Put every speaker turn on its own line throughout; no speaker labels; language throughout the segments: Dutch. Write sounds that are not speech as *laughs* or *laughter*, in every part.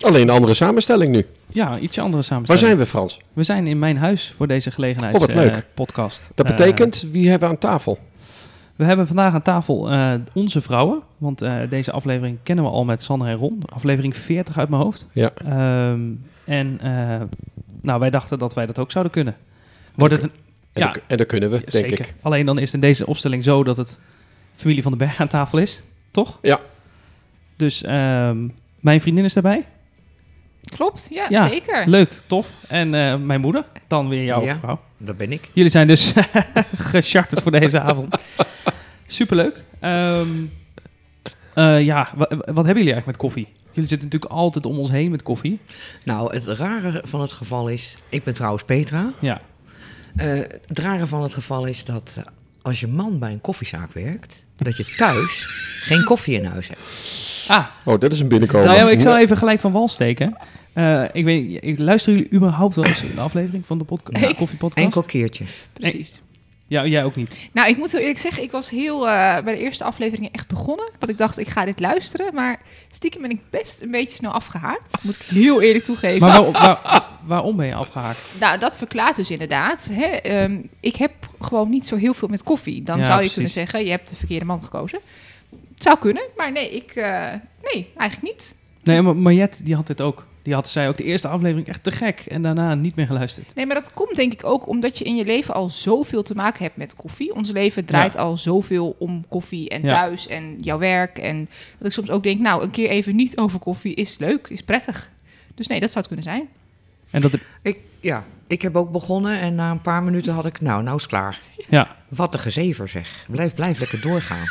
Alleen een andere samenstelling nu.
ja, ietsje andere
Waar
samenstelling.
zijn we, Frans?
we? zijn in mijn huis voor deze gelegenheid.
Oh, wat leuk.
eh, podcast.
Dat
Eh,
betekent, wie hebben we aan tafel?
we hebben vandaag aan tafel eh, onze vrouwen. Want eh, deze aflevering kennen we al met Sander en Ron. Aflevering 40 uit mijn hoofd.
Ja.
Ehm, en eh, nou, wij dachten dat wij dat ook zouden kunnen. Wordt het een,
En,
Ja.
dan, en dan kunnen we, denk
zeker.
ik.
Alleen dan is het in deze opstelling zo dat het familie van de Berg aan tafel is. Toch?
Ja.
Dus ehm, mijn vriendin is daarbij.
Klopt, ja,
Ja,
zeker.
Leuk, tof. En eh, mijn moeder, dan weer jouw
Ja.
vrouw.
Dat ben ik.
Jullie zijn dus *laughs* gecharterd voor deze avond. Superleuk. Ehm eh, ja, wa- wa- wat hebben jullie eigenlijk met koffie? Jullie zitten natuurlijk altijd om ons heen met koffie.
Nou, het rare van het geval is... Ik ben trouwens Petra.
Ja,
Eh, het rare van het geval is dat eh, als je man bij een koffiezaak werkt... dat je thuis geen koffie in huis hebt.
ah,
Oh, dat is een binnenkomen.
nou ja, maar ik zal even gelijk van wal steken. Eh, ik weet, ik luisteren jullie überhaupt wel eens een aflevering van de podca-
Nee.
koffiepodcast?
Enkel keertje.
Precies.
Ja, jij ook niet.
Nou, ik moet heel eerlijk zeggen, ik was heel eh, bij de eerste aflevering echt begonnen. Want ik dacht, ik ga dit luisteren. Maar stiekem ben ik best een beetje snel afgehaakt. Moet ik heel eerlijk toegeven.
Maar waar- waar- waarom ben je afgehaakt?
Nou, dat verklaart dus inderdaad. Hè, ehm, ik heb gewoon niet zo heel veel met koffie. Dan
Ja,
zou je
precies.
kunnen zeggen, je hebt de verkeerde man gekozen. Het zou kunnen, maar nee, ik, eh, nee eigenlijk niet.
Nee, maar Mariette, die had dit ook. Die had zij ook de eerste aflevering echt te gek en daarna niet meer geluisterd.
Nee, maar dat komt denk ik ook omdat je in je leven al zoveel te maken hebt met koffie. Ons leven draait al zoveel om koffie en
Ja.
thuis en jouw werk. En dat ik soms ook denk, nou, een keer even niet over koffie is leuk, is prettig. Dus nee, dat zou het kunnen zijn.
En dat,
Ik, ja, ik heb ook begonnen en na een paar minuten had ik... Nou, nou is het klaar.
ja.
Wat een gezever zeg. Blijf, blijf lekker doorgaan.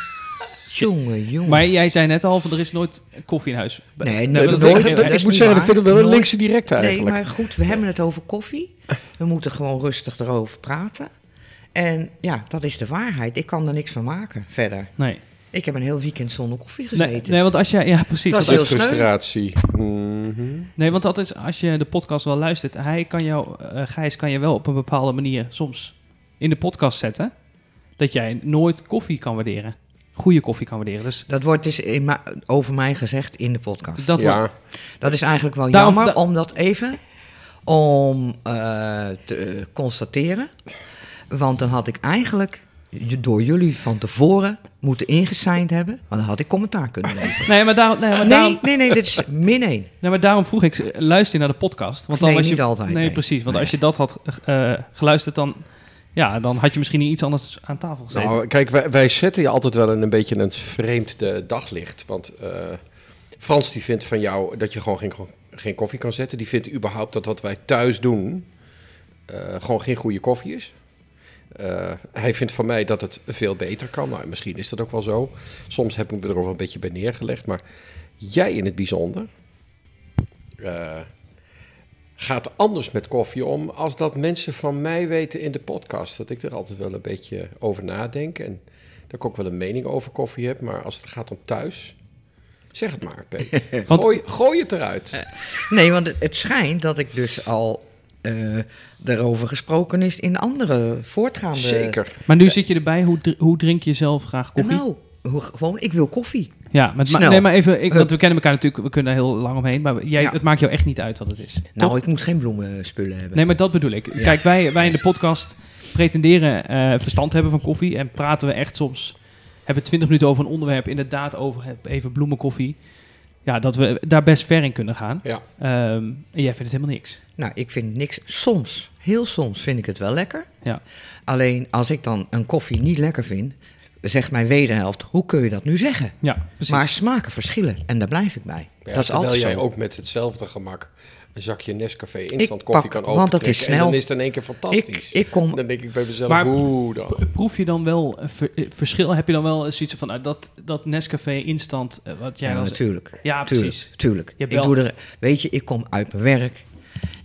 Jongen, jongen.
Maar jij zei net al, van er is nooit koffie in huis.
Nee,
Nee,
nooit.
dat- dat-
Dat
dat-
is
ik moet
niet
zeggen, dat
waar.
vind ik wel een
Nooit.
linkse direct eigenlijk.
Nee, maar goed, we hebben het over koffie. We moeten gewoon rustig erover praten. En ja, dat is de waarheid. Ik kan er niks van maken verder.
Nee.
Ik heb een heel weekend zonder koffie gezeten.
Nee, nee, want als je, ja precies.
Dat is
Want-
heel sneu.
frustratie. Mhm.
nee, want dat is, als je de podcast wel luistert, hij kan jou, eh, Gijs kan je wel op een bepaalde manier soms in de podcast zetten, dat jij nooit koffie kan waarderen. Goede koffie kan waarderen. Dus
Dat wordt dus in ma- over mij gezegd in de podcast.
dat wordt-
Ja,
Dat is eigenlijk wel
Daarom-
jammer
da-
om dat even om, eh, te eh, constateren. Want dan had ik eigenlijk j- door jullie van tevoren moeten ingesigned hebben. Want dan had ik commentaar kunnen leveren.
Nee, maar daarom, nee, maar daarom,
Nee, nee, nee, dit is min één.
nee, maar daarom vroeg ik, eh, luister je naar de podcast? Want dan
Nee,
was je,
niet altijd,
Nee,
nee.
precies. Want
Nee.
als je dat had eh, geluisterd, dan, ja, dan had je misschien iets anders aan tafel gezeten.
nou, kijk, wij, wij zetten je altijd wel in een beetje een vreemd eh, daglicht. Want eh, Frans die vindt van jou dat je gewoon geen, geen koffie kan zetten. Die vindt überhaupt dat wat wij thuis doen eh, gewoon geen goede koffie is. Eh, hij vindt van mij dat het veel beter kan. Nou, misschien is dat ook wel zo. Soms heb ik me er ook wel een beetje bij neergelegd. Maar jij in het bijzonder eh, gaat anders met koffie om... als dat mensen van mij weten in de podcast. Dat ik er altijd wel een beetje over nadenk. En dat ik ook wel een mening over koffie heb. Maar als het gaat om thuis... Zeg het maar, Peet. *laughs*
Want-
Gooi, gooi het
Eh,
eruit.
Nee, want het, het schijnt dat ik dus al eh daarover gesproken is in andere voortgaande...
Zeker.
Maar nu zit je erbij, hoe, dr- hoe drink je zelf graag koffie?
Nou, hoe- gewoon, ik wil koffie.
Ja, maar, het ma-
Snel.
nee, maar even, ik, want
Hup.
we kennen elkaar natuurlijk, we kunnen er heel lang omheen, maar jij,
Ja.
het maakt jou echt niet uit wat het is.
Nou,
Toch?
ik moet geen bloemenspullen hebben.
Nee, maar dat bedoel ik. Kijk, wij, wij in de podcast pretenderen eh, verstand te hebben van koffie en praten we echt soms, hebben twintig minuten over een onderwerp, inderdaad over heb- even bloemenkoffie. Ja, dat we daar best ver in kunnen gaan.
Ja.
Ehm, en jij vindt het helemaal niks.
Nou, ik vind niks. Soms, heel soms vind ik het wel lekker.
Ja.
Alleen als ik dan een koffie niet lekker vind, zegt mijn wederhelft: hoe kun je dat nu zeggen?
Ja, precies.
Maar smaken verschillen en daar blijf ik bij.
Ja,
dat is
terwijl
altijd
jij
zo.
ook met hetzelfde gemak een zakje Nescafé instant
Ik
koffie
pak-
kan
want dat
opentrekken. En
is
dan
snel.
is het in één keer
ik,
fantastisch.
ik kom.
dan denk ik bij mezelf,
Maar-
hoe dan?
Proef je dan wel een ver- eh, verschil? Heb je dan wel zoiets van nou, dat, dat Nescafé instant, eh, wat jij
Ja,
was.
natuurlijk.
Ja,
tuurlijk,
precies.
Tuurlijk.
Je
Ik
belt.
doe er, weet je, ik kom uit mijn werk.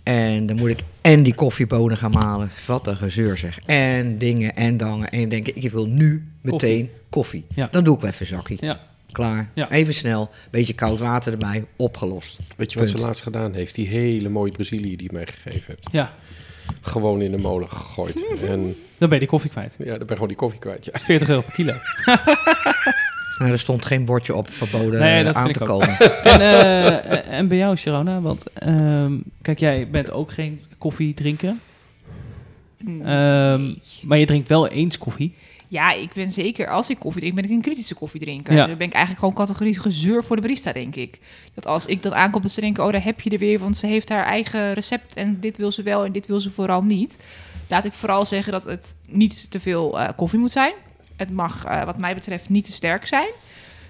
En dan moet ik en die koffiebonen gaan malen. Wat een gezeur zeg. En dingen en dangen. En dan denk ik, ik wil nu meteen koffie.
Ja.
Dan doe ik wel even een zakkie.
Ja.
Klaar.
Ja.
Even snel. Beetje koud water erbij. Opgelost.
Weet je wat ze
Punt.
laatst gedaan heeft? Die hele mooie Brazilië die je mij gegeven hebt.
Ja,
Gewoon in de molen gegooid.
Hmm.
En
dan ben je die koffie kwijt.
ja, dan ben je gewoon die koffie kwijt. Ja.
40 euro per kilo.
Nou, er stond geen bordje op verboden
Nee,
eh,
dat
aan
vind
te
ik ook.
komen. *laughs*
En, eh, en bij jou, Sharona, want ehm, kijk, jij bent ook geen koffiedrinker. Ehm, maar je drinkt wel eens koffie.
Ja, ik ben zeker, als ik koffie drink, ben ik een kritische koffiedrinker. Dus
Ja.
Dan ben ik eigenlijk gewoon categorie gezeur voor de barista, denk ik. Dat als ik dat aankom, dat ze denken, oh, daar heb je er weer, want ze heeft haar eigen recept en dit wil ze wel en dit wil ze vooral niet. Laat ik vooral zeggen dat het niet te veel eh, koffie moet zijn. Het mag, eh, wat mij betreft, niet te sterk zijn.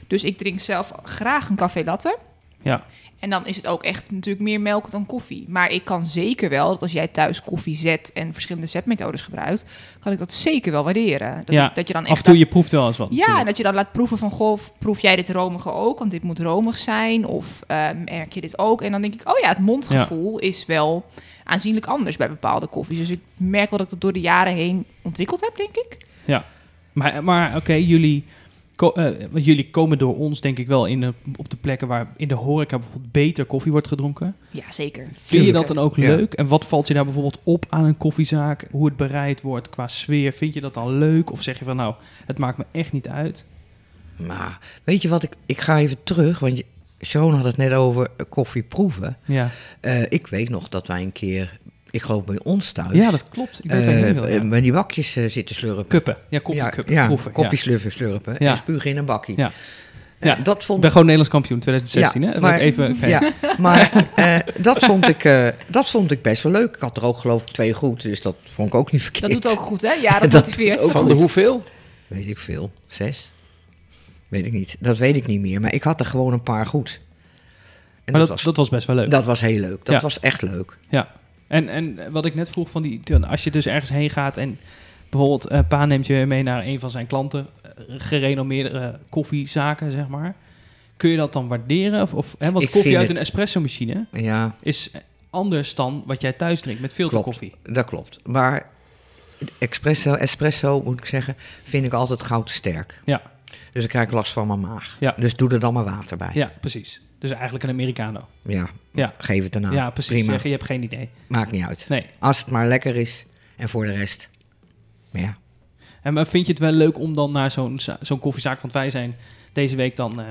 Dus ik drink zelf graag een café latte.
Ja.
En dan is het ook echt natuurlijk meer melk dan koffie. Maar ik kan zeker wel, dat als jij thuis koffie zet en verschillende zetmethodes gebruikt, kan ik dat zeker wel waarderen. Dat,
Ja,
dat je dan
Af en
echt
toe, je proeft wel eens wat.
ja, en
natuurlijk.
dat je dan laat proeven van, goh, proef jij dit romige ook? Want dit moet romig zijn. Of eh, merk je dit ook? En dan denk ik, oh ja, het mondgevoel is wel aanzienlijk anders bij bepaalde koffies. Dus ik merk wel dat ik dat door de jaren heen ontwikkeld heb, denk ik.
Maar, maar oké, jullie, ko- eh, want jullie komen door ons denk ik wel in de, op de plekken waar in de horeca bijvoorbeeld beter koffie wordt gedronken.
Ja, zeker.
Vind je
Tuurlijk.
dat dan ook
Ja.
leuk? En wat valt je daar bijvoorbeeld op aan een koffiezaak? Hoe het bereid wordt qua sfeer? Vind je dat dan leuk? Of zeg je van nou, het maakt me echt niet uit?
Maar weet je wat, ik, ik ga even terug, want je- Sean had het net over eh, koffie proeven.
Ja,
Eh, ik weet nog dat wij een keer, ik geloof bij ons thuis,
ja dat klopt. Ik weet waar je heen wil,
eh,
ja.
met die bakjes eh, zitten slurpen.
Kuppen. Ja, koffiekuppen.
ja,
proeven,
kopjes
ja.
slurpen, slurpen
Ja.
en spugen in een bakkie.
Ja.
Eh,
Ja.
dat
Ik
vond
ben gewoon Nederlands kampioen 2016,
Ja,
hè? Dat
maar-
wil ik even... *laughs* oké.
Ja, *laughs* maar eh, dat, vond ik, eh, dat vond ik best wel leuk. Ik had er ook geloof ik twee goed, dus dat vond ik ook niet *laughs*
Dat
verkeerd.
doet ook goed, hè? Ja,
*laughs*
dat,
Dat
motiveert.
doet ook
Van de
goed.
hoeveel?
Weet ik veel, zes? Weet ik niet, dat weet ik niet meer. Maar ik had er gewoon een paar goed. En
Maar
dat,
dat,
was,
dat was best wel leuk.
dat was heel leuk, dat
Ja.
was echt leuk.
En, en wat ik net vroeg, van die, als je dus ergens heen gaat en bijvoorbeeld eh Pa neemt je mee naar een van zijn klanten, eh, gerenommeerde eh, koffiezaken, zeg maar. Kun je dat dan waarderen? Of, of, hè, want
Ik
koffie
vind
uit
het-
een espresso-machine
Ja,
is anders dan wat jij thuis drinkt met filterkoffie.
dat klopt. Maar espresso, espresso moet ik zeggen, vind ik altijd gauw te sterk.
Ja.
Dus dan krijg ik last van mijn maag.
Ja.
Dus doe er dan maar water bij.
Ja, precies. Dus eigenlijk een Americano.
Ja,
Ja.
geef het daarna.
ja, precies.
Nou, Prima,
Je, je hebt geen idee.
maakt niet uit.
Nee.
Als het maar lekker is en voor de rest. Maar ja,
En maar vind je het wel leuk om dan naar zo'n za- zo'n koffiezaak? Want wij zijn deze week dan, eh,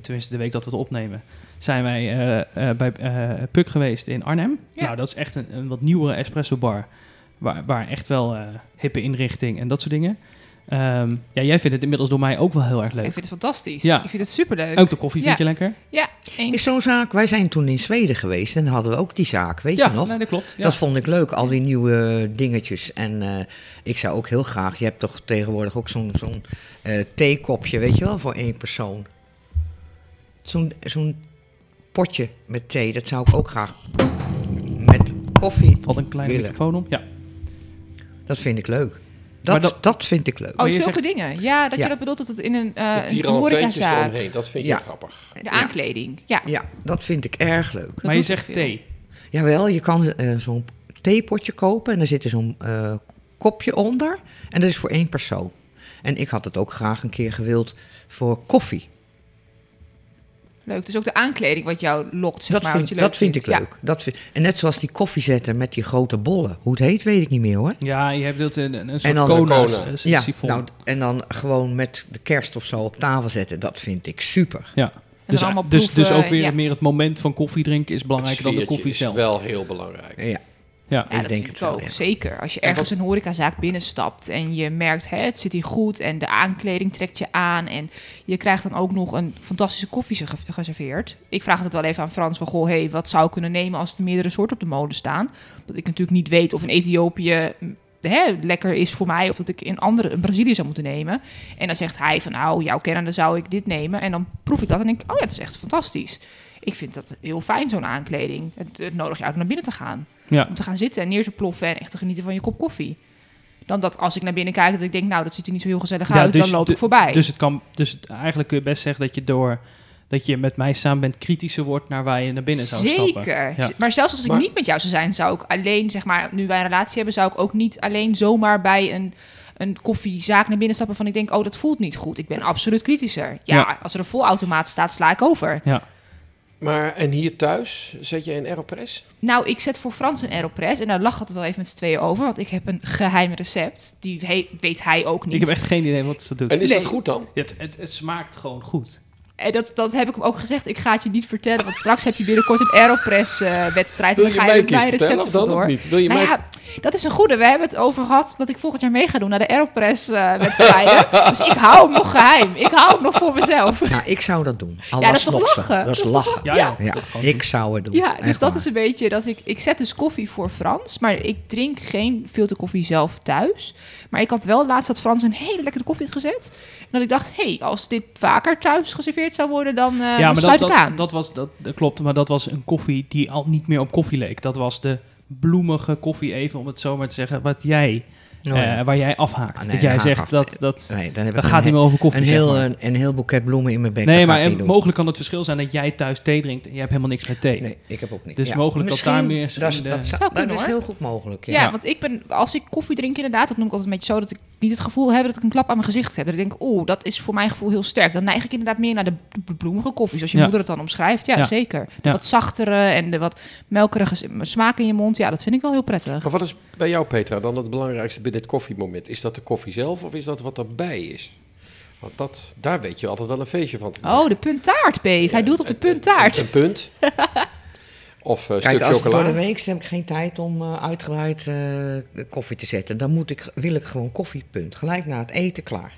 tenminste de week dat we het opnemen, zijn wij eh, eh, bij eh, Puk geweest in Arnhem.
Ja.
Nou, dat is echt een, een wat nieuwere espresso bar. Waar, waar echt wel eh, hippe inrichting en dat soort dingen. Ehm, ja, jij vindt het inmiddels door mij ook wel heel erg
Ik
leuk.
vind het fantastisch.
Ja.
Ik vind het superleuk.
Ook de koffie vind
Ja.
je lekker?
Ja, eens.
is zo'n zaak. Wij zijn toen in Zweden geweest en hadden we ook die zaak, weet
ja,
je nog?
nee, dat klopt. Ja.
Dat vond ik leuk, al die nieuwe dingetjes. En eh, ik zou ook heel graag, je hebt toch tegenwoordig ook zo'n zo'n eh, theekopje, weet je wel, voor één persoon. Zo'n zo'n potje met thee, dat zou ik ook graag met koffie.
Valt een kleine
Willen.
microfoon om. Ja.
Dat vind ik leuk.
Maar
Dat,
dat-
dat... vind ik leuk.
Oh,
Maar je
zulke
zegt-
dingen. Ja, dat
Ja.
je dat bedoelt dat het in een, eh
Die
een
tierantijntjes
horecazaak...
eromheen. Dat vind je
Ja.
grappig.
De aankleding, ja.
Ja, dat vind ik erg leuk.
maar je
doet
zegt
veel.
thee.
Jawel, je kan eh, zo'n theepotje kopen en daar zit er zo'n eh, kopje onder. En dat is voor één persoon. En ik had het ook graag een keer gewild voor koffie.
Leuk. Dus ook de aankleding wat jou lokt, zeg
Dat,
maar, wat
vind,
je leuk
dat vind ik
vindt. Ja.
leuk. Dat vind, en net zoals die koffiezetten met die grote bollen. Hoe het heet, weet ik niet meer hoor.
Ja, je hebt dat eh, een, een- een soort
dan-
kona's,
Kona.
eh,
Ja,
sifon.
nou, en dan gewoon met de kerst of zo op tafel zetten. Dat vind ik super.
Ja.
dan
Dus,
allemaal
dus, dus
proeven,
ook weer
ja.
meer het moment van koffie drinken is
Het
belangrijker dan de
sfeertje
koffie
is
zelf.
wel heel belangrijk.
Ja,
Ja.
Ja,
Ik
dat
denk
vind
het
ik
wel,
ook.
ja.
Zeker. Als je ergens een horecazaak binnenstapt en je merkt, hè, het zit hier goed en de aankleding trekt je aan en je krijgt dan ook nog een fantastische koffie ge- geserveerd. Ik vraag het wel even aan Frans van, goh, hey, wat zou ik kunnen nemen als er meerdere soorten op de molen staan? Dat ik natuurlijk niet weet of een Ethiopië mm, hè, lekker is voor mij of dat ik een andere, een Brazilië zou moeten nemen. En dan zegt hij van, nou, jouw kennende zou ik dit nemen. En dan proef ik dat en denk ik, oh ja, het is echt fantastisch. Ik vind dat heel fijn, zo'n aankleding. Het, het nodigt je uit om naar binnen te gaan
Ja.
om te gaan zitten en neer te ploffen en echt te genieten van je kop koffie. Dan dat als ik naar binnen kijk, dat ik denk, nou, dat ziet er niet zo heel gezellig
Ja,
uit,
dus
dan loop
de-
ik voorbij.
Dus, het kan, dus het- eigenlijk kun je best zeggen dat je door dat je met mij samen bent kritischer wordt naar waar je naar binnen zou stappen.
Zeker.
Ja.
Z- Maar zelfs als ik
Maar-
niet met jou zou zijn, zou ik alleen, zeg maar, nu wij een relatie hebben, zou ik ook niet alleen zomaar bij een, een koffiezaak naar binnen stappen van ik denk, oh, dat voelt niet goed. Ik ben absoluut kritischer. Ja,
Ja.
als er een volautomaat staat, sla ik over.
Ja.
Maar en hier thuis zet je een aeropress?
Nou, ik zet voor Frans een Aeropress en daar lag het wel even met z'n tweeën over, want ik heb een geheim recept. Die he- weet hij ook niet.
Ik heb echt geen idee wat ze doet.
En is
Nee.
dat goed dan?
Het, het, het smaakt gewoon goed.
En dat, dat heb ik hem ook gezegd. Ik ga het je niet vertellen, want straks heb je binnenkort een Aeropress-wedstrijd. en
Wil
dan
je
ga
mij
je
een keer
mijn
vertellen
recepten
of dan
vandoor.
of niet? Wil je
Nou
mij...
ja, dat is een goede. We hebben het over gehad dat ik volgend jaar mee ga doen naar de Aeropress-wedstrijden.
*laughs*
dus ik hou hem nog geheim. Ik hou hem nog voor mezelf.
Nou, ik zou dat doen. Al
Ja, dat
was
is
het
toch
nog zo.
lachen?
Dat is
Dat is toch
lachen.
Ja,
Ja.
ja.
Ja,
dat gewoon
ik zou het doen.
Ja, dus
Echt
dat
waar.
is een beetje dat ik... Ik zet dus koffie voor Frans, maar ik drink geen filterkoffie zelf thuis. Maar ik had wel laatst dat Frans een hele lekkere koffie had gezet. En dat ik dacht, hé, hey, als dit vaker thuis geserveerd zou worden, dan, eh
ja,
dan
maar
sluit
dat,
ik
dat,
aan.
dat, was, dat, dat klopt, maar dat was een koffie die al niet meer op koffie leek. Dat was de bloemige koffie, even om het zo maar te zeggen, wat jij,
Oh, ja.
eh, waar jij afhaakt.
Ah, nee,
dat jij
haak
zegt
af.
dat, dat,
Nee, dan heb
dat
ik
gaat
een,
niet meer over koffie.
een
zeg
heel, eh,
maar.
Een, een heel boeket bloemen in mijn bek.
nee,
dat ga
maar
ik niet
en
doen.
mogelijk kan het verschil zijn dat jij thuis thee drinkt en jij hebt helemaal niks met thee.
Nee, ik heb ook niet.
Dus mogelijk dat daar eh, meer is
Dat,
in de-
dat, zou-
Zou
dat
kunnen,
is
hoor.
heel goed mogelijk. Ja.
Ja, want ik ben, als ik koffie drink inderdaad, dat noem ik altijd een beetje zo, dat ik niet het gevoel heb dat ik een klap aan mijn gezicht heb. Dat ik denk, oeh, dat is voor mijn gevoel heel sterk. Dan neig ik inderdaad meer naar de b- bloemige koffie, zoals je
Ja.
moeder het dan omschrijft. Ja,
Ja.
zeker. De
Ja.
wat zachtere en de wat melkerige s- smaak in je mond, ja, dat vind ik wel heel prettig.
Maar wat is bij jou, Petra, dan het belangrijkste bij dit koffiemoment? Is dat de koffie zelf of is dat wat erbij is? Want dat, daar weet je altijd wel een feestje van. te maken.
Oh, de puntaart, Beet. Hij doet op de puntaart.
Een
*laughs*
punt. Of een
Kijk,
stuk
als het door de
chocola.
week is, heb ik geen tijd om eh, uitgebreid eh, koffie te zetten. Dan moet ik, wil ik gewoon koffiepunt. Gelijk na het eten klaar.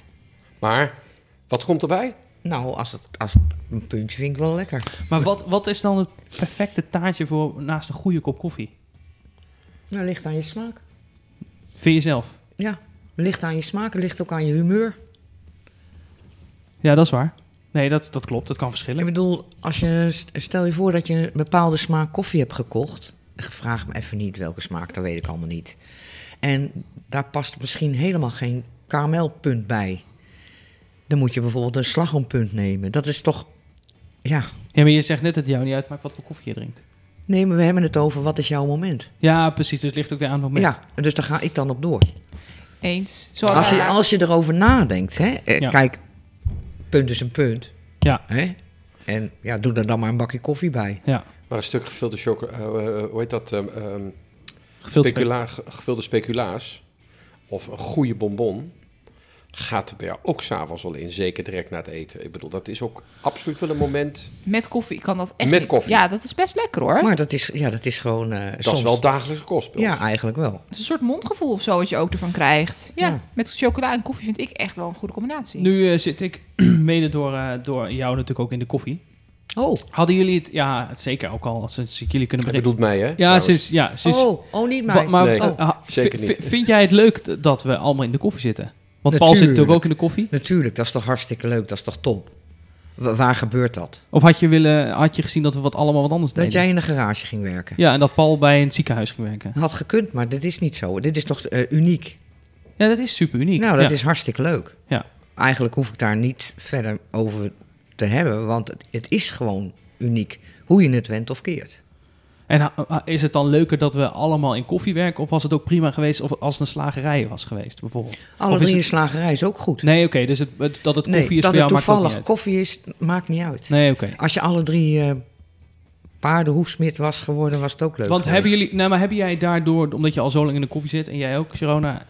Maar wat komt erbij?
Nou, als het, als het een puntje vind ik wel lekker.
Maar wat, wat is dan het perfecte taartje voor naast een goede kop koffie?
Nou, ligt aan je smaak.
Vind je zelf?
Ja, ligt aan je smaak, ligt ook aan je humeur.
Ja, dat is waar. Nee, dat, dat klopt. Dat kan verschillen.
Ik bedoel, als je, stel je voor dat je een bepaalde smaak koffie hebt gekocht. Vraag me even niet welke smaak, dat weet ik allemaal niet. En daar past misschien helemaal geen karamelpunt bij. Dan moet je bijvoorbeeld een slagroompunt nemen. Dat is toch, ja.
Ja, maar je zegt net dat het jou niet uitmaakt wat voor koffie je drinkt.
Nee, maar we hebben het over wat is jouw moment.
Ja, precies. Dus het ligt ook weer aan het moment.
Ja, dus daar ga ik dan op door.
Eens. Zo
Als je,
ja.
als je erover nadenkt, hè. eh,
Ja.
Kijk, punt is een punt,
Ja,
hè. En ja, doe er dan maar een bakje koffie bij.
ja.
Maar een stuk gevulde chocola. eh, eh, hoe heet dat? ehm, ehm,
Gevuld
specula- ge- gevulde speculaas. Of een goede bonbon. Gaat er bij jou ook s'avonds al in. Zeker direct na het eten. Ik bedoel, dat is ook absoluut wel een moment.
Met koffie kan dat echt
Met
niet.
koffie.
Ja, dat is best lekker hoor.
Maar dat is, ja, dat is gewoon eh
Dat
soms...
is wel dagelijkse kost. bij ons.
Ja, eigenlijk wel.
Het is een soort mondgevoel of zo wat je ook ervan krijgt. Ja,
Ja.
met chocola en koffie vind ik echt wel een goede combinatie.
Nu eh, zit ik *clears throat* mede door, eh, door jou natuurlijk ook in de koffie.
Oh,
Hadden jullie het, ja, het zeker ook al sinds ik jullie kunnen
Hij
bereiken.
bedoelt mij, hè? Nou,
Ja,
trouwens.
sinds, ja, sinds.
oh, oh, niet
Wa-
mij.
maar
Nee.
eh,
Oh,
ha-
zeker
vi-
niet.
vi- vind jij het leuk d- dat we allemaal in de koffie zitten? Want Paul zit natuurlijk ook
Natuurlijk.
in de koffie.
Natuurlijk, dat is toch hartstikke leuk, dat is toch top. Wa- waar gebeurt dat?
Of had je, willen, had je gezien dat we wat allemaal wat anders
Dat
deden?
jij in een garage ging werken.
Ja, en dat Paul bij een ziekenhuis ging werken.
Had gekund, maar dit is niet zo. Dit is toch eh, uniek?
Ja, dat is super uniek.
Nou, dat
ja.
is hartstikke leuk.
Ja.
Eigenlijk hoef ik daar niet verder over te hebben, want het, het is gewoon uniek. Hoe je het went of keert.
En ha- ha- is het dan leuker dat we allemaal in koffie werken? Of was het ook prima geweest of als het een slagerij was geweest, bijvoorbeeld?
Alle
Of is
drie
het-
de slagerij is ook goed.
Nee, oké, dus het, het- dat het koffie is voor
dat het
jou maakt ook
toevallig
niet uit.
koffie is, maakt niet uit.
Nee, oké.
Als je alle drie eh paardenhoefsmid was geworden, was het ook leuk
Want
geweest.
hebben jullie, nou, maar hebben jij daardoor, omdat je al zo lang in de koffie zit en jij ook, Sharona,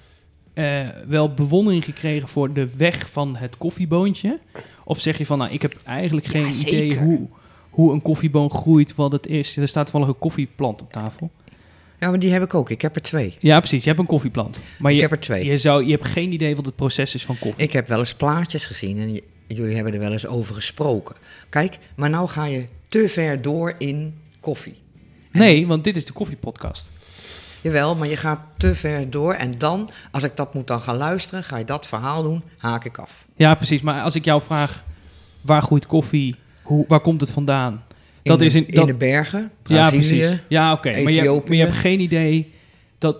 eh, wel bewondering gekregen voor de weg van het koffieboontje? Of zeg je van, nou, ik heb eigenlijk geen idee
zeker.
hoe, hoe een koffieboon groeit, wat het is. Er staat toevallig een koffieplant op tafel.
Ja, maar die heb ik ook. Ik heb er twee.
Ja, precies, je hebt een koffieplant. Maar
ik
je,
heb er twee.
je, zou, je hebt geen idee wat het proces is van koffie.
Ik heb wel eens plaatjes gezien en j- jullie hebben er wel eens over gesproken. Kijk, maar nou ga je te ver door in koffie.
Nee, want dit is de koffiepodcast.
Jawel, maar je gaat te ver door en dan, als ik dat moet dan gaan luisteren, ga je dat verhaal doen, haak ik af.
Ja, precies. Maar als ik jou vraag, waar groeit koffie? Hoe, waar komt het vandaan? Dat
de,
is in- dat-
de bergen, Brazilië,
Ja, precies. Ja, oké. Maar, je hebt- maar
Ethiopië.
je hebt geen idee dat...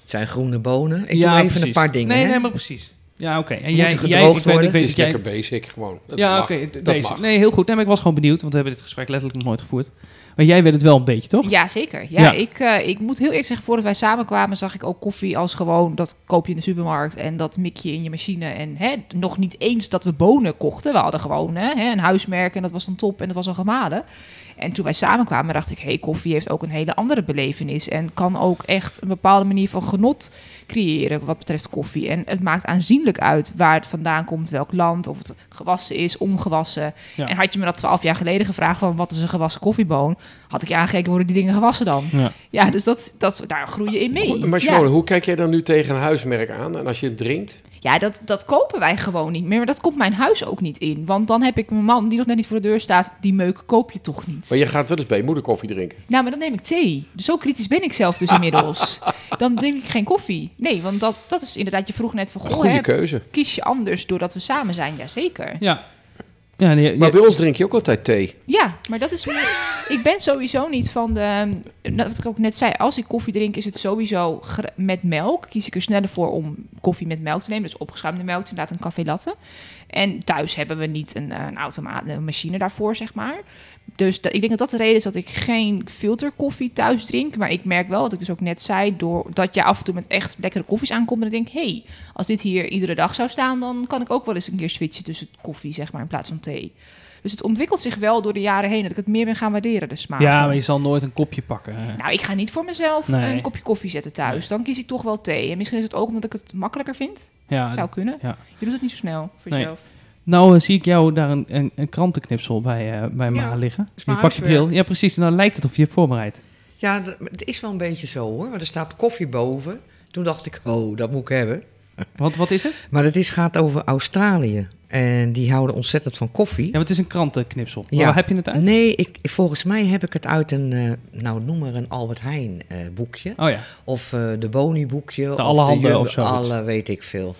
het zijn groene bonen. Ik
Ja,
doe even
precies.
een paar dingen.
Nee,
hè?
nee, maar precies. Ja, oké. En
Moeten
jij,
gedroogd
jij, ik weet- ik
worden.
weet
Het
Het
dat
is
jij-
lekker basic gewoon. Dat
ja,
mag.
oké. d-
Dat
deze.
mag.
Nee, heel goed. Nee, maar ik was gewoon benieuwd, want we hebben dit gesprek letterlijk nog nooit gevoerd. Maar jij weet het wel een beetje, toch?
Ja, zeker. Ja,
Ja.
Ik, eh, ik moet heel eerlijk zeggen, voordat wij samenkwamen zag ik ook koffie als gewoon, dat koop je in de supermarkt en dat mik je in je machine. En hè, nog niet eens dat we bonen kochten. We hadden gewoon hè, een huismerk en dat was dan top en dat was al gemalen. En toen wij samenkwamen dacht ik, hé, hey, koffie heeft ook een hele andere belevenis. En kan ook echt een bepaalde manier van genot creëren wat betreft koffie. En het maakt aanzienlijk uit waar het vandaan komt, welk land, of het gewassen is, ongewassen.
Ja.
En had je me dat twaalf jaar geleden gevraagd van wat is een gewassen koffieboon, had ik je aangekeken worden die dingen gewassen dan.
Ja.
Ja, dus dat, dat, daar groei je in mee.
Maar Sharon,
ja,
hoe kijk jij dan nu tegen een huismerk aan? En als je het drinkt,
ja dat, dat kopen wij gewoon niet meer. Maar dat komt mijn huis ook niet in. Want dan heb ik mijn man die nog net niet voor de deur staat. Die meuk koop je toch niet.
maar je gaat wel eens bij je moeder koffie drinken.
Nou, maar dan neem ik thee. Dus zo kritisch ben ik zelf dus inmiddels. Dan drink ik geen koffie. Nee, want dat, dat is inderdaad, je vroeg net van,
Een
goh,
goede
hè,
keuze.
kies je anders doordat we samen zijn? Jazeker.
Ja. ja, nee,
Maar
ja.
bij ons drink je ook altijd thee.
Ja, maar dat is... meer- ik ben sowieso niet van de... nou, Wat ik ook net zei, als ik koffie drink is het sowieso gr- met melk. Kies ik er sneller voor om koffie met melk te nemen. Dus opgeschuimde melk, is inderdaad een café latte. En thuis hebben we niet een, eh, een automaat, een machine daarvoor, zeg maar. Dus dat, ik denk dat dat de reden is dat ik geen filterkoffie thuis drink. Maar ik merk wel, wat ik dus ook net zei, doordat je af en toe met echt lekkere koffies aankomt. En ik denk, hé, hey, als dit hier iedere dag zou staan, dan kan ik ook wel eens een keer switchen tussen koffie, zeg maar, in plaats van thee. Dus het ontwikkelt zich wel door de jaren heen dat ik het meer ben gaan waarderen, de smaak.
ja, maar je zal nooit een kopje pakken. hè.
Nou, ik ga niet voor mezelf
Nee.
een kopje koffie zetten thuis. Dan kies ik toch wel thee. En misschien is het ook omdat ik het makkelijker vind.
Ja,
Zou kunnen.
ja.
Je doet het niet zo snel voor
Nee.
jezelf.
Nou eh, zie ik jou daar een, een, een krantenknipsel bij, eh bij Ma
Ja,
liggen. Je
is mijn
pakt je
huiswerk.
bril. Ja, precies. En dan lijkt het of je hebt voorbereid.
Ja, dat maar het is wel een beetje zo hoor. Want er staat koffie boven. Toen dacht ik, oh, dat moet ik hebben.
Want wat is het?
Maar het is, gaat over Australië. En die houden ontzettend van koffie.
Ja, want het is een krantenknipsel. Maar
Ja.
Waar heb je het uit?
Nee, ik, volgens mij heb ik het uit een, eh, nou noem maar een Albert Heijn eh, boekje.
Oh ja.
Of eh, de Boni boekje. of
Allerhande
Jumbo-
of zoiets.
Alle weet ik veel.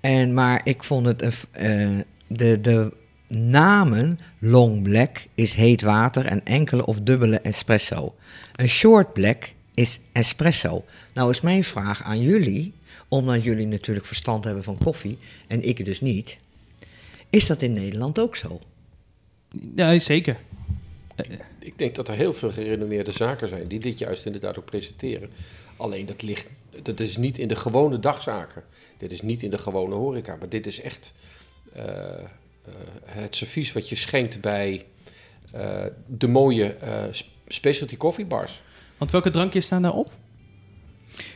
En, maar ik vond het, een, f- eh, de, de namen long black is heet water en enkele of dubbele espresso. Een short black is espresso. Nou is mijn vraag aan jullie, omdat jullie natuurlijk verstand hebben van koffie en ik dus niet. Is dat in Nederland ook zo?
ja, zeker.
Ik denk dat er heel veel gerenommeerde zaken zijn die dit juist inderdaad ook presenteren. Alleen dat ligt, dat is niet in de gewone dagzaken. Dit is niet in de gewone horeca. Maar dit is echt eh, eh, het servies wat je schenkt bij eh, de mooie eh, sp- specialty coffee bars.
Want welke drankjes staan daarop?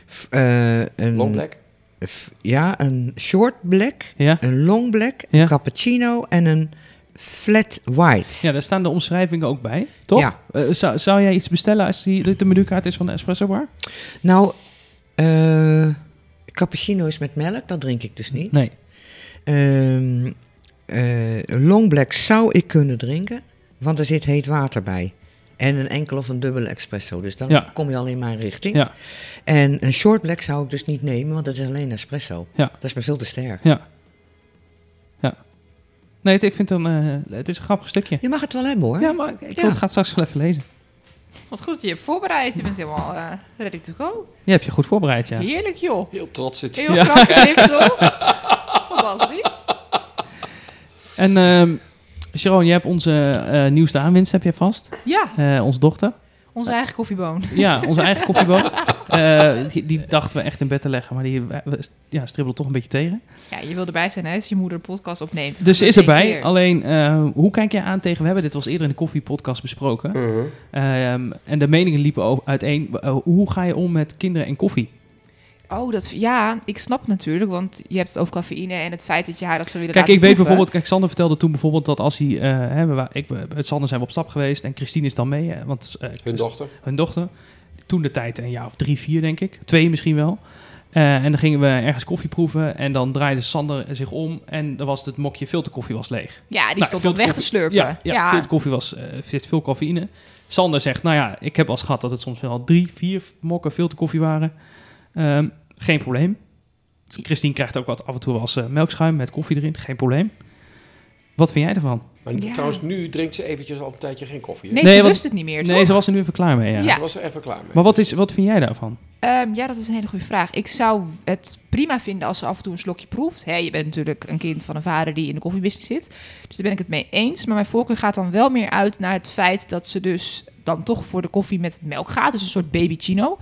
F- eh,
Mm.
een,
Long black.
f- ja, een short black
Ja.
Een long black,
Ja.
een cappuccino en een flat white.
Ja, daar staan de omschrijvingen ook bij, toch?
Ja.
Eh, zou, zou jij iets bestellen als die, dit de menukaart is van de espresso bar?
Nou, eh, cappuccino is met melk, dat drink ik dus niet.
Nee.
Ehm, eh, long black zou ik kunnen drinken, want er zit heet water bij. En een enkel of een dubbele espresso, dus dan
Ja.
kom je al in mijn richting.
Ja.
En een short black zou ik dus niet nemen, want dat is alleen espresso.
Ja.
Dat is me veel te sterk.
Ja. Ja. Nee, het, ik vind dan, eh, het is een grappig stukje.
Je mag het wel hebben hoor.
Ja, maar ik, ik
Ja.
wil het graag straks wel even lezen.
Wat goed dat je je hebt voorbereid. Je bent helemaal eh, ready to go.
Je hebt je goed voorbereid, ja.
Heerlijk, joh.
Heel trots zit.
Heel krachtig knipsel. Fantastisch.
En ehm Sharon, jij hebt onze eh, nieuwste aanwinst, heb je vast.
Ja,
Eh, onze dochter.
onze eigen koffieboon.
Ja, onze eigen koffieboot.
*laughs*
Eh, die, die dachten we echt in bed te leggen, maar die eh, we- ja, stribbelde toch een beetje tegen.
Ja, je wil erbij zijn hè, als je moeder een podcast opneemt.
Dus ze is
Dat één
erbij.
keer.
Alleen, eh, hoe kijk jij aan tegen... We hebben dit was eerder in de koffiepodcast besproken.
Mhm.
Ehm, en de meningen liepen o- uiteen. Eh, hoe ga je om met kinderen en koffie?
Oh, dat, ja, ik snap het natuurlijk, want je hebt het over cafeïne en het feit dat je haar dat zou willen
Kijk, ik
laten
weet
proeven.
bijvoorbeeld... Kijk, Sander vertelde toen bijvoorbeeld dat als hij... eh, hè, we wa- ik, we- met Sander zijn we op stap geweest en Christine is dan mee. eh, want eh,
Hun dochter.
hun dochter. Toen de tijd een jaar of drie, vier denk ik. Twee misschien wel. Eh, en dan gingen we ergens koffie proeven. En dan draaide Sander zich om. En dan was het mokje filterkoffie was leeg.
Ja, die
Nou,
stond
veel
dat weg te
koffie-
slurpen.
Ja, ja, filterkoffie was, eh, zit veel cafeïne. Sander zegt, nou ja, ik heb al gehad dat het soms wel drie, vier mokken filterkoffie waren. Ehm, geen eh, probleem. Christine krijgt ook wat af en toe als melkschuim met koffie erin. Geen probleem. Wat vind jij ervan?
Maar
Ja.
trouwens, nu drinkt ze eventjes al een tijdje geen koffie. hè?
Nee,
Nee,
ze
want-
lust het niet meer,
Nee,
toch?
ze was er nu even klaar mee. Ja.
Ja.
Ze was er even klaar mee.
Maar wat, is, wat vind jij daarvan?
Ehm, ja, dat is een hele goede vraag. Ik zou het prima vinden als ze af en toe een slokje proeft. Hè, je bent natuurlijk een kind van een vader die in de koffiebusiness zit. Dus daar ben ik het mee eens. Maar mijn voorkeur gaat dan wel meer uit naar het feit dat ze dus dan toch voor de koffie met melk gaat. Dus een soort baby chino.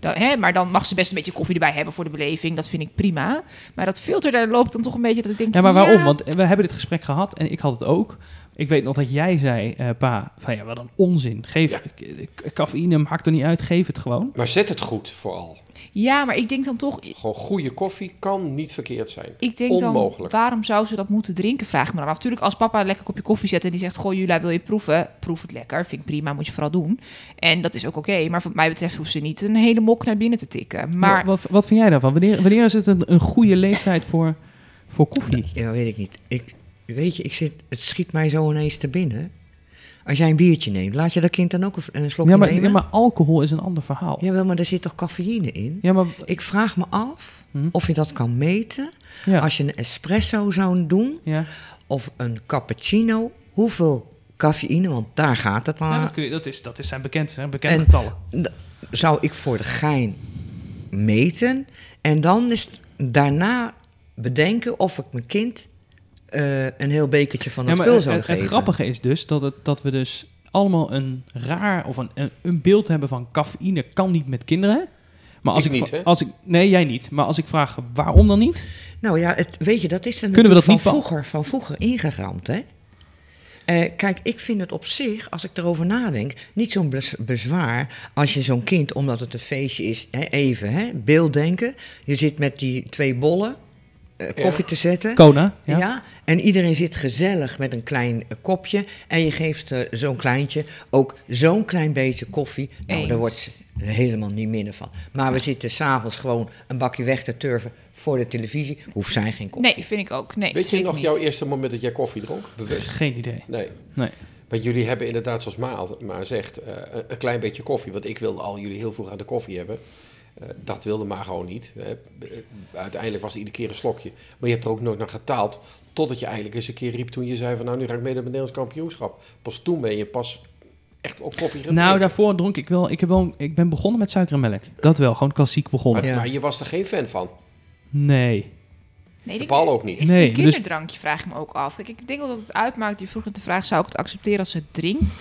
Dan, hè, maar dan mag ze best een beetje koffie erbij hebben voor de beleving. Dat vind ik prima. Maar dat filter, daar loopt dan toch een beetje dat ik denk...
Ja, maar waarom? Want we hebben dit gesprek gehad en ik had het ook. Ik weet nog dat jij zei, eh, pa, van ja, wat een onzin. Geef
Ja.
eh, k- cafeïne, hakt er niet uit, geef het gewoon.
Maar zet het goed vooral.
Ja, maar ik denk dan toch...
Gewoon goede koffie kan niet verkeerd zijn.
Ik denk
Onmogelijk.
dan, waarom zou ze dat moeten drinken? Vraag ik me dan af. Natuurlijk, als papa een lekker kopje koffie zet en die zegt... Goh, Jula, wil je proeven? Proef het lekker. Vind ik prima, moet je vooral doen. En dat is ook oké. maar wat mij betreft hoeft ze niet een hele mok naar binnen te tikken. Maar
Wat, wat vind jij daarvan? Wanneer, wanneer is het een, een goede leeftijd voor, voor koffie?
Ja, weet ik niet. Ik, weet je, ik zit, het schiet mij zo ineens te binnen. Als jij een biertje neemt, laat je dat kind dan ook een- een slokje
Ja maar,
nemen?
ja, maar alcohol is een ander verhaal.
Jawel, maar er zit toch cafeïne in?
Ja, maar,
Ik vraag me af
Hm.
of je dat kan meten.
ja.
Als je een espresso zou doen
ja.
of een cappuccino, hoeveel cafeïne, want daar gaat het aan,
Ja, dat, kun je, dat, is, dat is zijn bekend, zijn bekende
En-
getallen.
D- zou ik voor de gein meten. En dan is het daarna bedenken of ik mijn kind eh, een heel bekertje van
Ja,
het
maar
spul
het,
zou
het- het
geven.
grappige is dus dat, het, dat we dus allemaal een raar of een, een, een beeld hebben van cafeïne kan niet met kinderen. Maar als
Ik
ik,
niet,
vra-
hè?
als ik nee jij niet, maar als ik vraag waarom dan niet?
Nou ja, het, weet je, dat is er
Kunnen we dat
natuurlijk
niet
van
pa-
vroeger, van vroeger ingeramd, hè? Eh, kijk, ik vind het op zich, als ik erover nadenk, niet zo'n bez- bezwaar als je zo'n kind, omdat het een feestje is, hè, even, hè, beelddenken. Je zit met die twee bollen eh, koffie te zetten.
Kona, ja.
Ja? en iedereen zit gezellig met een klein eh, kopje. En je geeft eh, zo'n kleintje ook zo'n klein beetje koffie. Nou,
Eens.
daar wordt ze helemaal niet minder van. Maar we zitten s'avonds gewoon een bakje weg te turven voor de televisie. Hoeft zij geen koffie.
nee, vind ik ook. Nee,
Weet je
zeker
nog
niet.
jouw eerste moment dat jij koffie dronk? Bewust?
geen idee.
Nee.
Nee.
Want jullie hebben inderdaad, zoals Ma al- maar zegt, eh, een- een klein beetje koffie. Want ik wilde al jullie heel vroeg aan de koffie hebben. Eh, dat wilde Ma gewoon niet. hè. Eh, uiteindelijk was het iedere keer een slokje. Maar je hebt er ook nooit naar getaald. Totdat je eigenlijk eens een keer riep toen je zei van... nou, nu ga ik mee naar het Nederlands kampioenschap. Pas toen ben je pas echt op koffie gaan
Nou,
drinken.
daarvoor dronk ik wel. Ik, heb wel, ik ben begonnen met suiker en melk. Dat wel, gewoon klassiek begonnen.
maar,
Ja.
maar je was er geen fan van.
Nee.
Nee,
De
ik-
Paul ook niet.
Is
Nee,
nee,
dus-
kinderdrankje vraag ik me ook af. Kijk, ik denk wel dat het uitmaakt. Je vroeg net de vraag, zou ik het accepteren als ze het drinkt?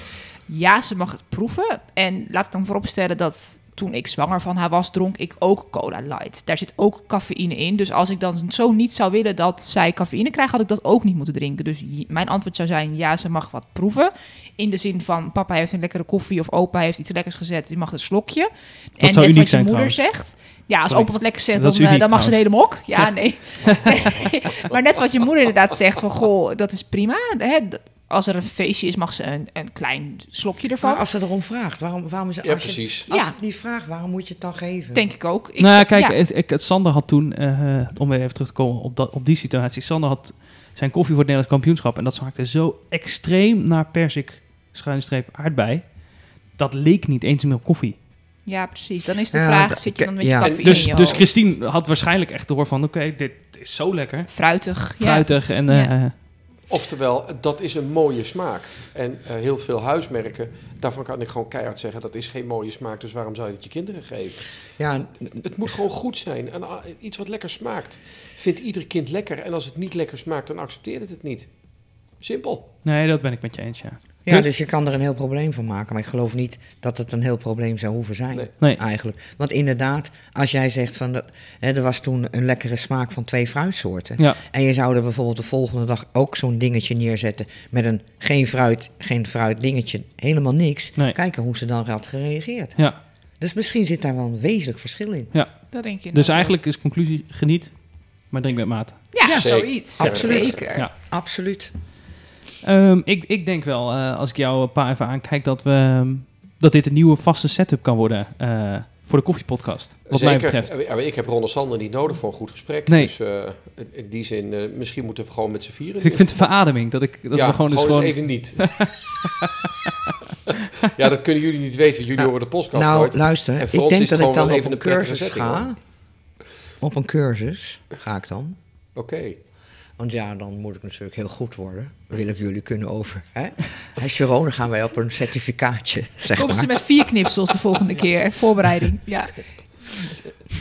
Ja, ze mag het proeven. En laat ik dan vooropstellen dat toen ik zwanger van haar was, dronk ik ook Cola Light. Daar zit ook cafeïne in. Dus als ik dan zo niet zou willen dat zij cafeïne krijgt, had ik dat ook niet moeten drinken. Dus j- mijn antwoord zou zijn, ja, ze mag wat proeven. In de zin van, papa heeft een lekkere koffie of opa heeft iets lekkers gezet. Die mag een slokje. en
zou uniek
net wat je
zijn
moeder zegt. Ja, als
Sorry.
opa wat lekker zegt,
Dat
dan,
is
eh,
uniek
dan mag ze de
trouwens.
hele mok. Ja, nee. Nee. *laughs* maar net wat je moeder inderdaad zegt van goh, dat is prima. Hè? d- Als er een feestje is, mag ze een, een klein slokje ervan.
Maar als ze erom vraagt, waarom, waarom is het,
Ja,
als Je,
precies.
als
Ja.
ze het niet vraagt, waarom moet je het dan geven?
Denk ik ook. Ik,
nou, kijk,
ja.
het, ik, het Sander had toen, eh, om weer even terug te komen op, dat, op die situatie. Sander had zijn koffie voor het Nederlands kampioenschap. En dat smaakte zo extreem naar persik, schuinstreep, aardbei. Dat leek niet eens meer op koffie.
ja, precies. Dan is de
Ja,
vraag,
dat-
zit je dan met je
ja.
cafeïne
Dus,
in je
dus
hoofd?
Christine had waarschijnlijk echt door van, oké, dit is zo lekker.
Fruitig. ja.
Fruitig en... eh,
Oftewel, dat is een mooie smaak. En eh, heel veel huismerken, daarvan kan ik gewoon keihard zeggen... dat is geen mooie smaak, dus waarom zou je het je kinderen geven?
Ja,
Het moet gewoon goed zijn. En ah, iets wat lekker smaakt, vindt ieder kind lekker. En als het niet lekker smaakt, dan accepteert het het niet. Simpel.
nee, dat ben ik met je eens, ja.
ja, dus je kan er een heel probleem van maken. Maar ik geloof niet dat het een heel probleem zou hoeven zijn.
Nee.
Nee.
Eigenlijk. Want inderdaad, als jij zegt van dat, hè, er was toen een lekkere smaak van twee fruitsoorten.
Ja,
En je zou er bijvoorbeeld de volgende dag ook zo'n dingetje neerzetten met een geen fruit, geen fruit dingetje, helemaal niks.
Nee.
Kijken hoe ze dan had gereageerd.
ja,
Dus misschien zit daar wel een wezenlijk verschil in.
Dat denk je
dus
nou
eigenlijk is conclusie, geniet, maar drink met mate.
zo. Ja,
Zeker.
zoiets.
Absoluut.
Zeker.
Ja.
Absoluut.
Ehm, ik, ik denk wel, eh, als ik jou een paar even aankijk, dat, we, ehm, dat dit een nieuwe vaste setup kan worden eh, voor de koffiepodcast. Wat mij betreft.
Eh, Ik heb Ronald Sander niet nodig voor een goed gesprek.
Nee.
Dus eh, in- in die zin, eh, misschien moeten we gewoon met z'n vieren.
Dus ik vind het een verademing dat, ik, dat
ja,
we gewoon dus
eens
gewoon.
even niet. *laughs* ja, dat kunnen jullie niet weten. Jullie horen de podcast
nou,
nooit.
luister,
En
ik
voor ons
denk
is het
dat ik
gewoon
dan
wel
op
even
een
een prettige
cursus
setting,
ga. Op een cursus ga ik dan.
Oké.
Want ja, dan moet ik natuurlijk heel goed worden. Wil ik jullie kunnen over.
*laughs*
Hè? Hey, Sharon, dan gaan wij op een certificaatje, zeg
Komen ze
maar.
met vier knipsels de volgende
*laughs*
keer. Voorbereiding. Ja.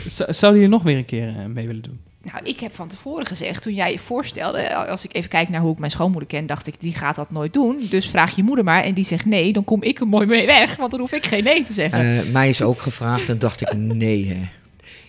Z- Zou je nog weer een keer eh, mee willen doen?
Nou, ik heb van tevoren gezegd, toen jij je voorstelde, eh, als ik even kijk naar hoe ik mijn schoonmoeder ken, dacht ik, die gaat dat nooit doen. Dus vraag je moeder maar en die zegt nee, dan kom ik er mooi mee weg, want dan hoef ik geen nee te zeggen.
Eh, mij is ook gevraagd en dacht ik, nee hè.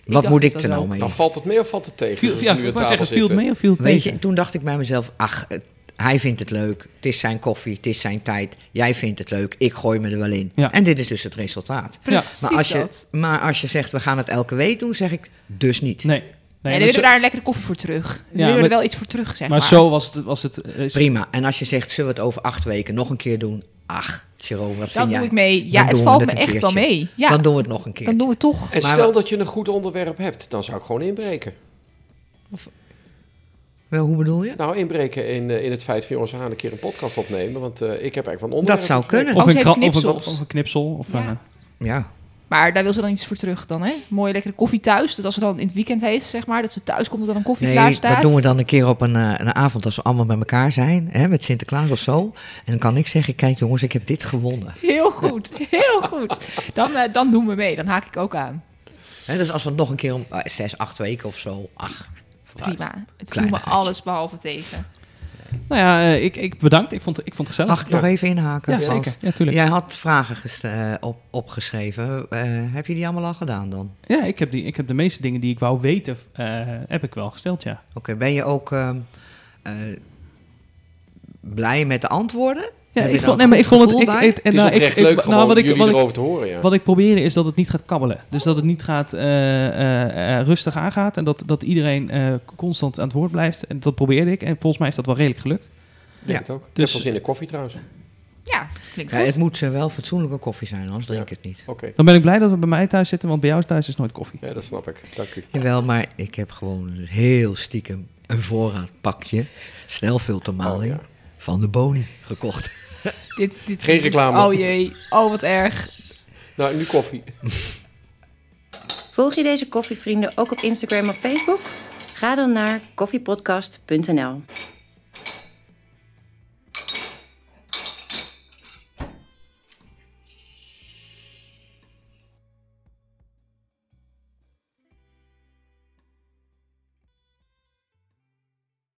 Wat
dacht
moet
dus
ik
dat
er nou
wel.
mee?
Dan valt het mee of valt het tegen?
Viel,
Dat
ja,
we nu
ik
aan
wou
tafel
zeggen, viel het
zitten.
mee of viel het
Weet
tegen?
je, toen dacht ik bij mezelf, ach, het- hij vindt het leuk. Het is zijn koffie, het is zijn tijd. Jij vindt het leuk, ik gooi me er wel in.
Ja.
En dit is dus het resultaat.
Precies
Maar als, je,
dat.
maar als je zegt, we gaan het elke week doen, zeg ik, dus niet.
Nee. nee,
en
maar
dan willen
zo-
we daar een lekkere koffie voor terug. We willen
maar-
er wel iets voor terug, zeg maar.
maar zo was het. Was het
dus-
eh, is-
Prima. En als je zegt, zullen we het over acht weken nog een keer doen? Ach, Jeroen, wat
dan
vind
doe
jij?
ik mee. Ja,
Dan
het
doen we
valt
het
me
een
echt wel
keertje.
mee. Ja,
Dan doen we het nog een keer.
dan doen we het toch.
En
Maar
stel
we-
dat je een goed onderwerp hebt, dan zou ik gewoon inbreken.
Wel, hoe bedoel je?
Nou, inbreken in, eh, in het feit van jongens, we gaan een keer een podcast opnemen. Want eh, ik heb eigenlijk van onderwerp.
Dat zou
te spreken.
kunnen.
Of,
Oh, ze
een
heeft
kra- of, een,
knipsels.
of een knipsel. Of,
Ja.
eh,
Ja.
Maar daar wil ze dan iets voor terug dan, hè? Mooie lekkere koffie thuis. Dat als ze dan in het weekend heeft, zeg maar, dat ze thuis komt dat er dan koffie klaar
Nee,
staat.
dat doen we dan een keer op een, eh, een avond als we allemaal bij elkaar zijn. Hè, met Sinterklaas of zo. En dan kan ik zeggen, kijk jongens, ik heb dit gewonnen.
Heel goed, heel goed. Dan, eh, dan doen we mee, dan haak ik ook aan.
Hè, dus als we het nog een keer om eh, zes, acht weken of zo. Ach, vooruit.
Prima. Het viel me
Kleinigheidje.
alles behalve tegen.
Nou ja, eh, ik, ik bedankt. Ik vond, ik vond het gezellig.
Mag ik nog even
ja,
inhaken? Frans?
zeker. Ja, tuurlijk.
Jij had vragen gest- eh, op, opgeschreven. Eh, heb je die allemaal al gedaan dan?
Ja, ik, heb die, ik heb de meeste dingen die ik wou weten, eh, heb ik wel gesteld, ja.
Oké, ben je ook ehm, eh, blij met de antwoorden?
Ja,
Heb je
ik
daar
vond,
een
nee, maar ik
goed
vond het...
gevoel
Ik,
bij?
ik- en
Het is
nou, ik-
oprecht
ik-
leuk
nou,
gewoon
wat ik-
jullie
wat ik-
erover te horen, ja.
Wat ik probeer is dat het niet gaat kabbelen. Dus dat het niet gaat, eh, eh, eh, rustig aangaat. En dat, dat iedereen eh, constant aan het woord blijft. En dat probeerde ik. En volgens mij is dat wel redelijk gelukt.
Ik denk het ook. Ik heb
Dus-
wel zin in koffie trouwens. Oké.
Ja, klinkt
Ja,
goed.
het moet eh, wel fatsoenlijke koffie zijn, anders drink ik het niet.
Dan ben ik blij dat we bij mij thuis zitten. Want bij jou thuis is nooit koffie.
Ja, dat snap ik. Dank u.
Jawel, maar ik heb gewoon een heel stiekem een voorraadpakje snelfiltermaling
Oh, ja.
van de Boni gekocht.
Dit, dit,
Geen reclame.
Oh jee, oh wat erg.
Nou, nu koffie.
Volg je deze koffievrienden ook op Instagram of Facebook? Ga dan naar koffiepodcast.nl.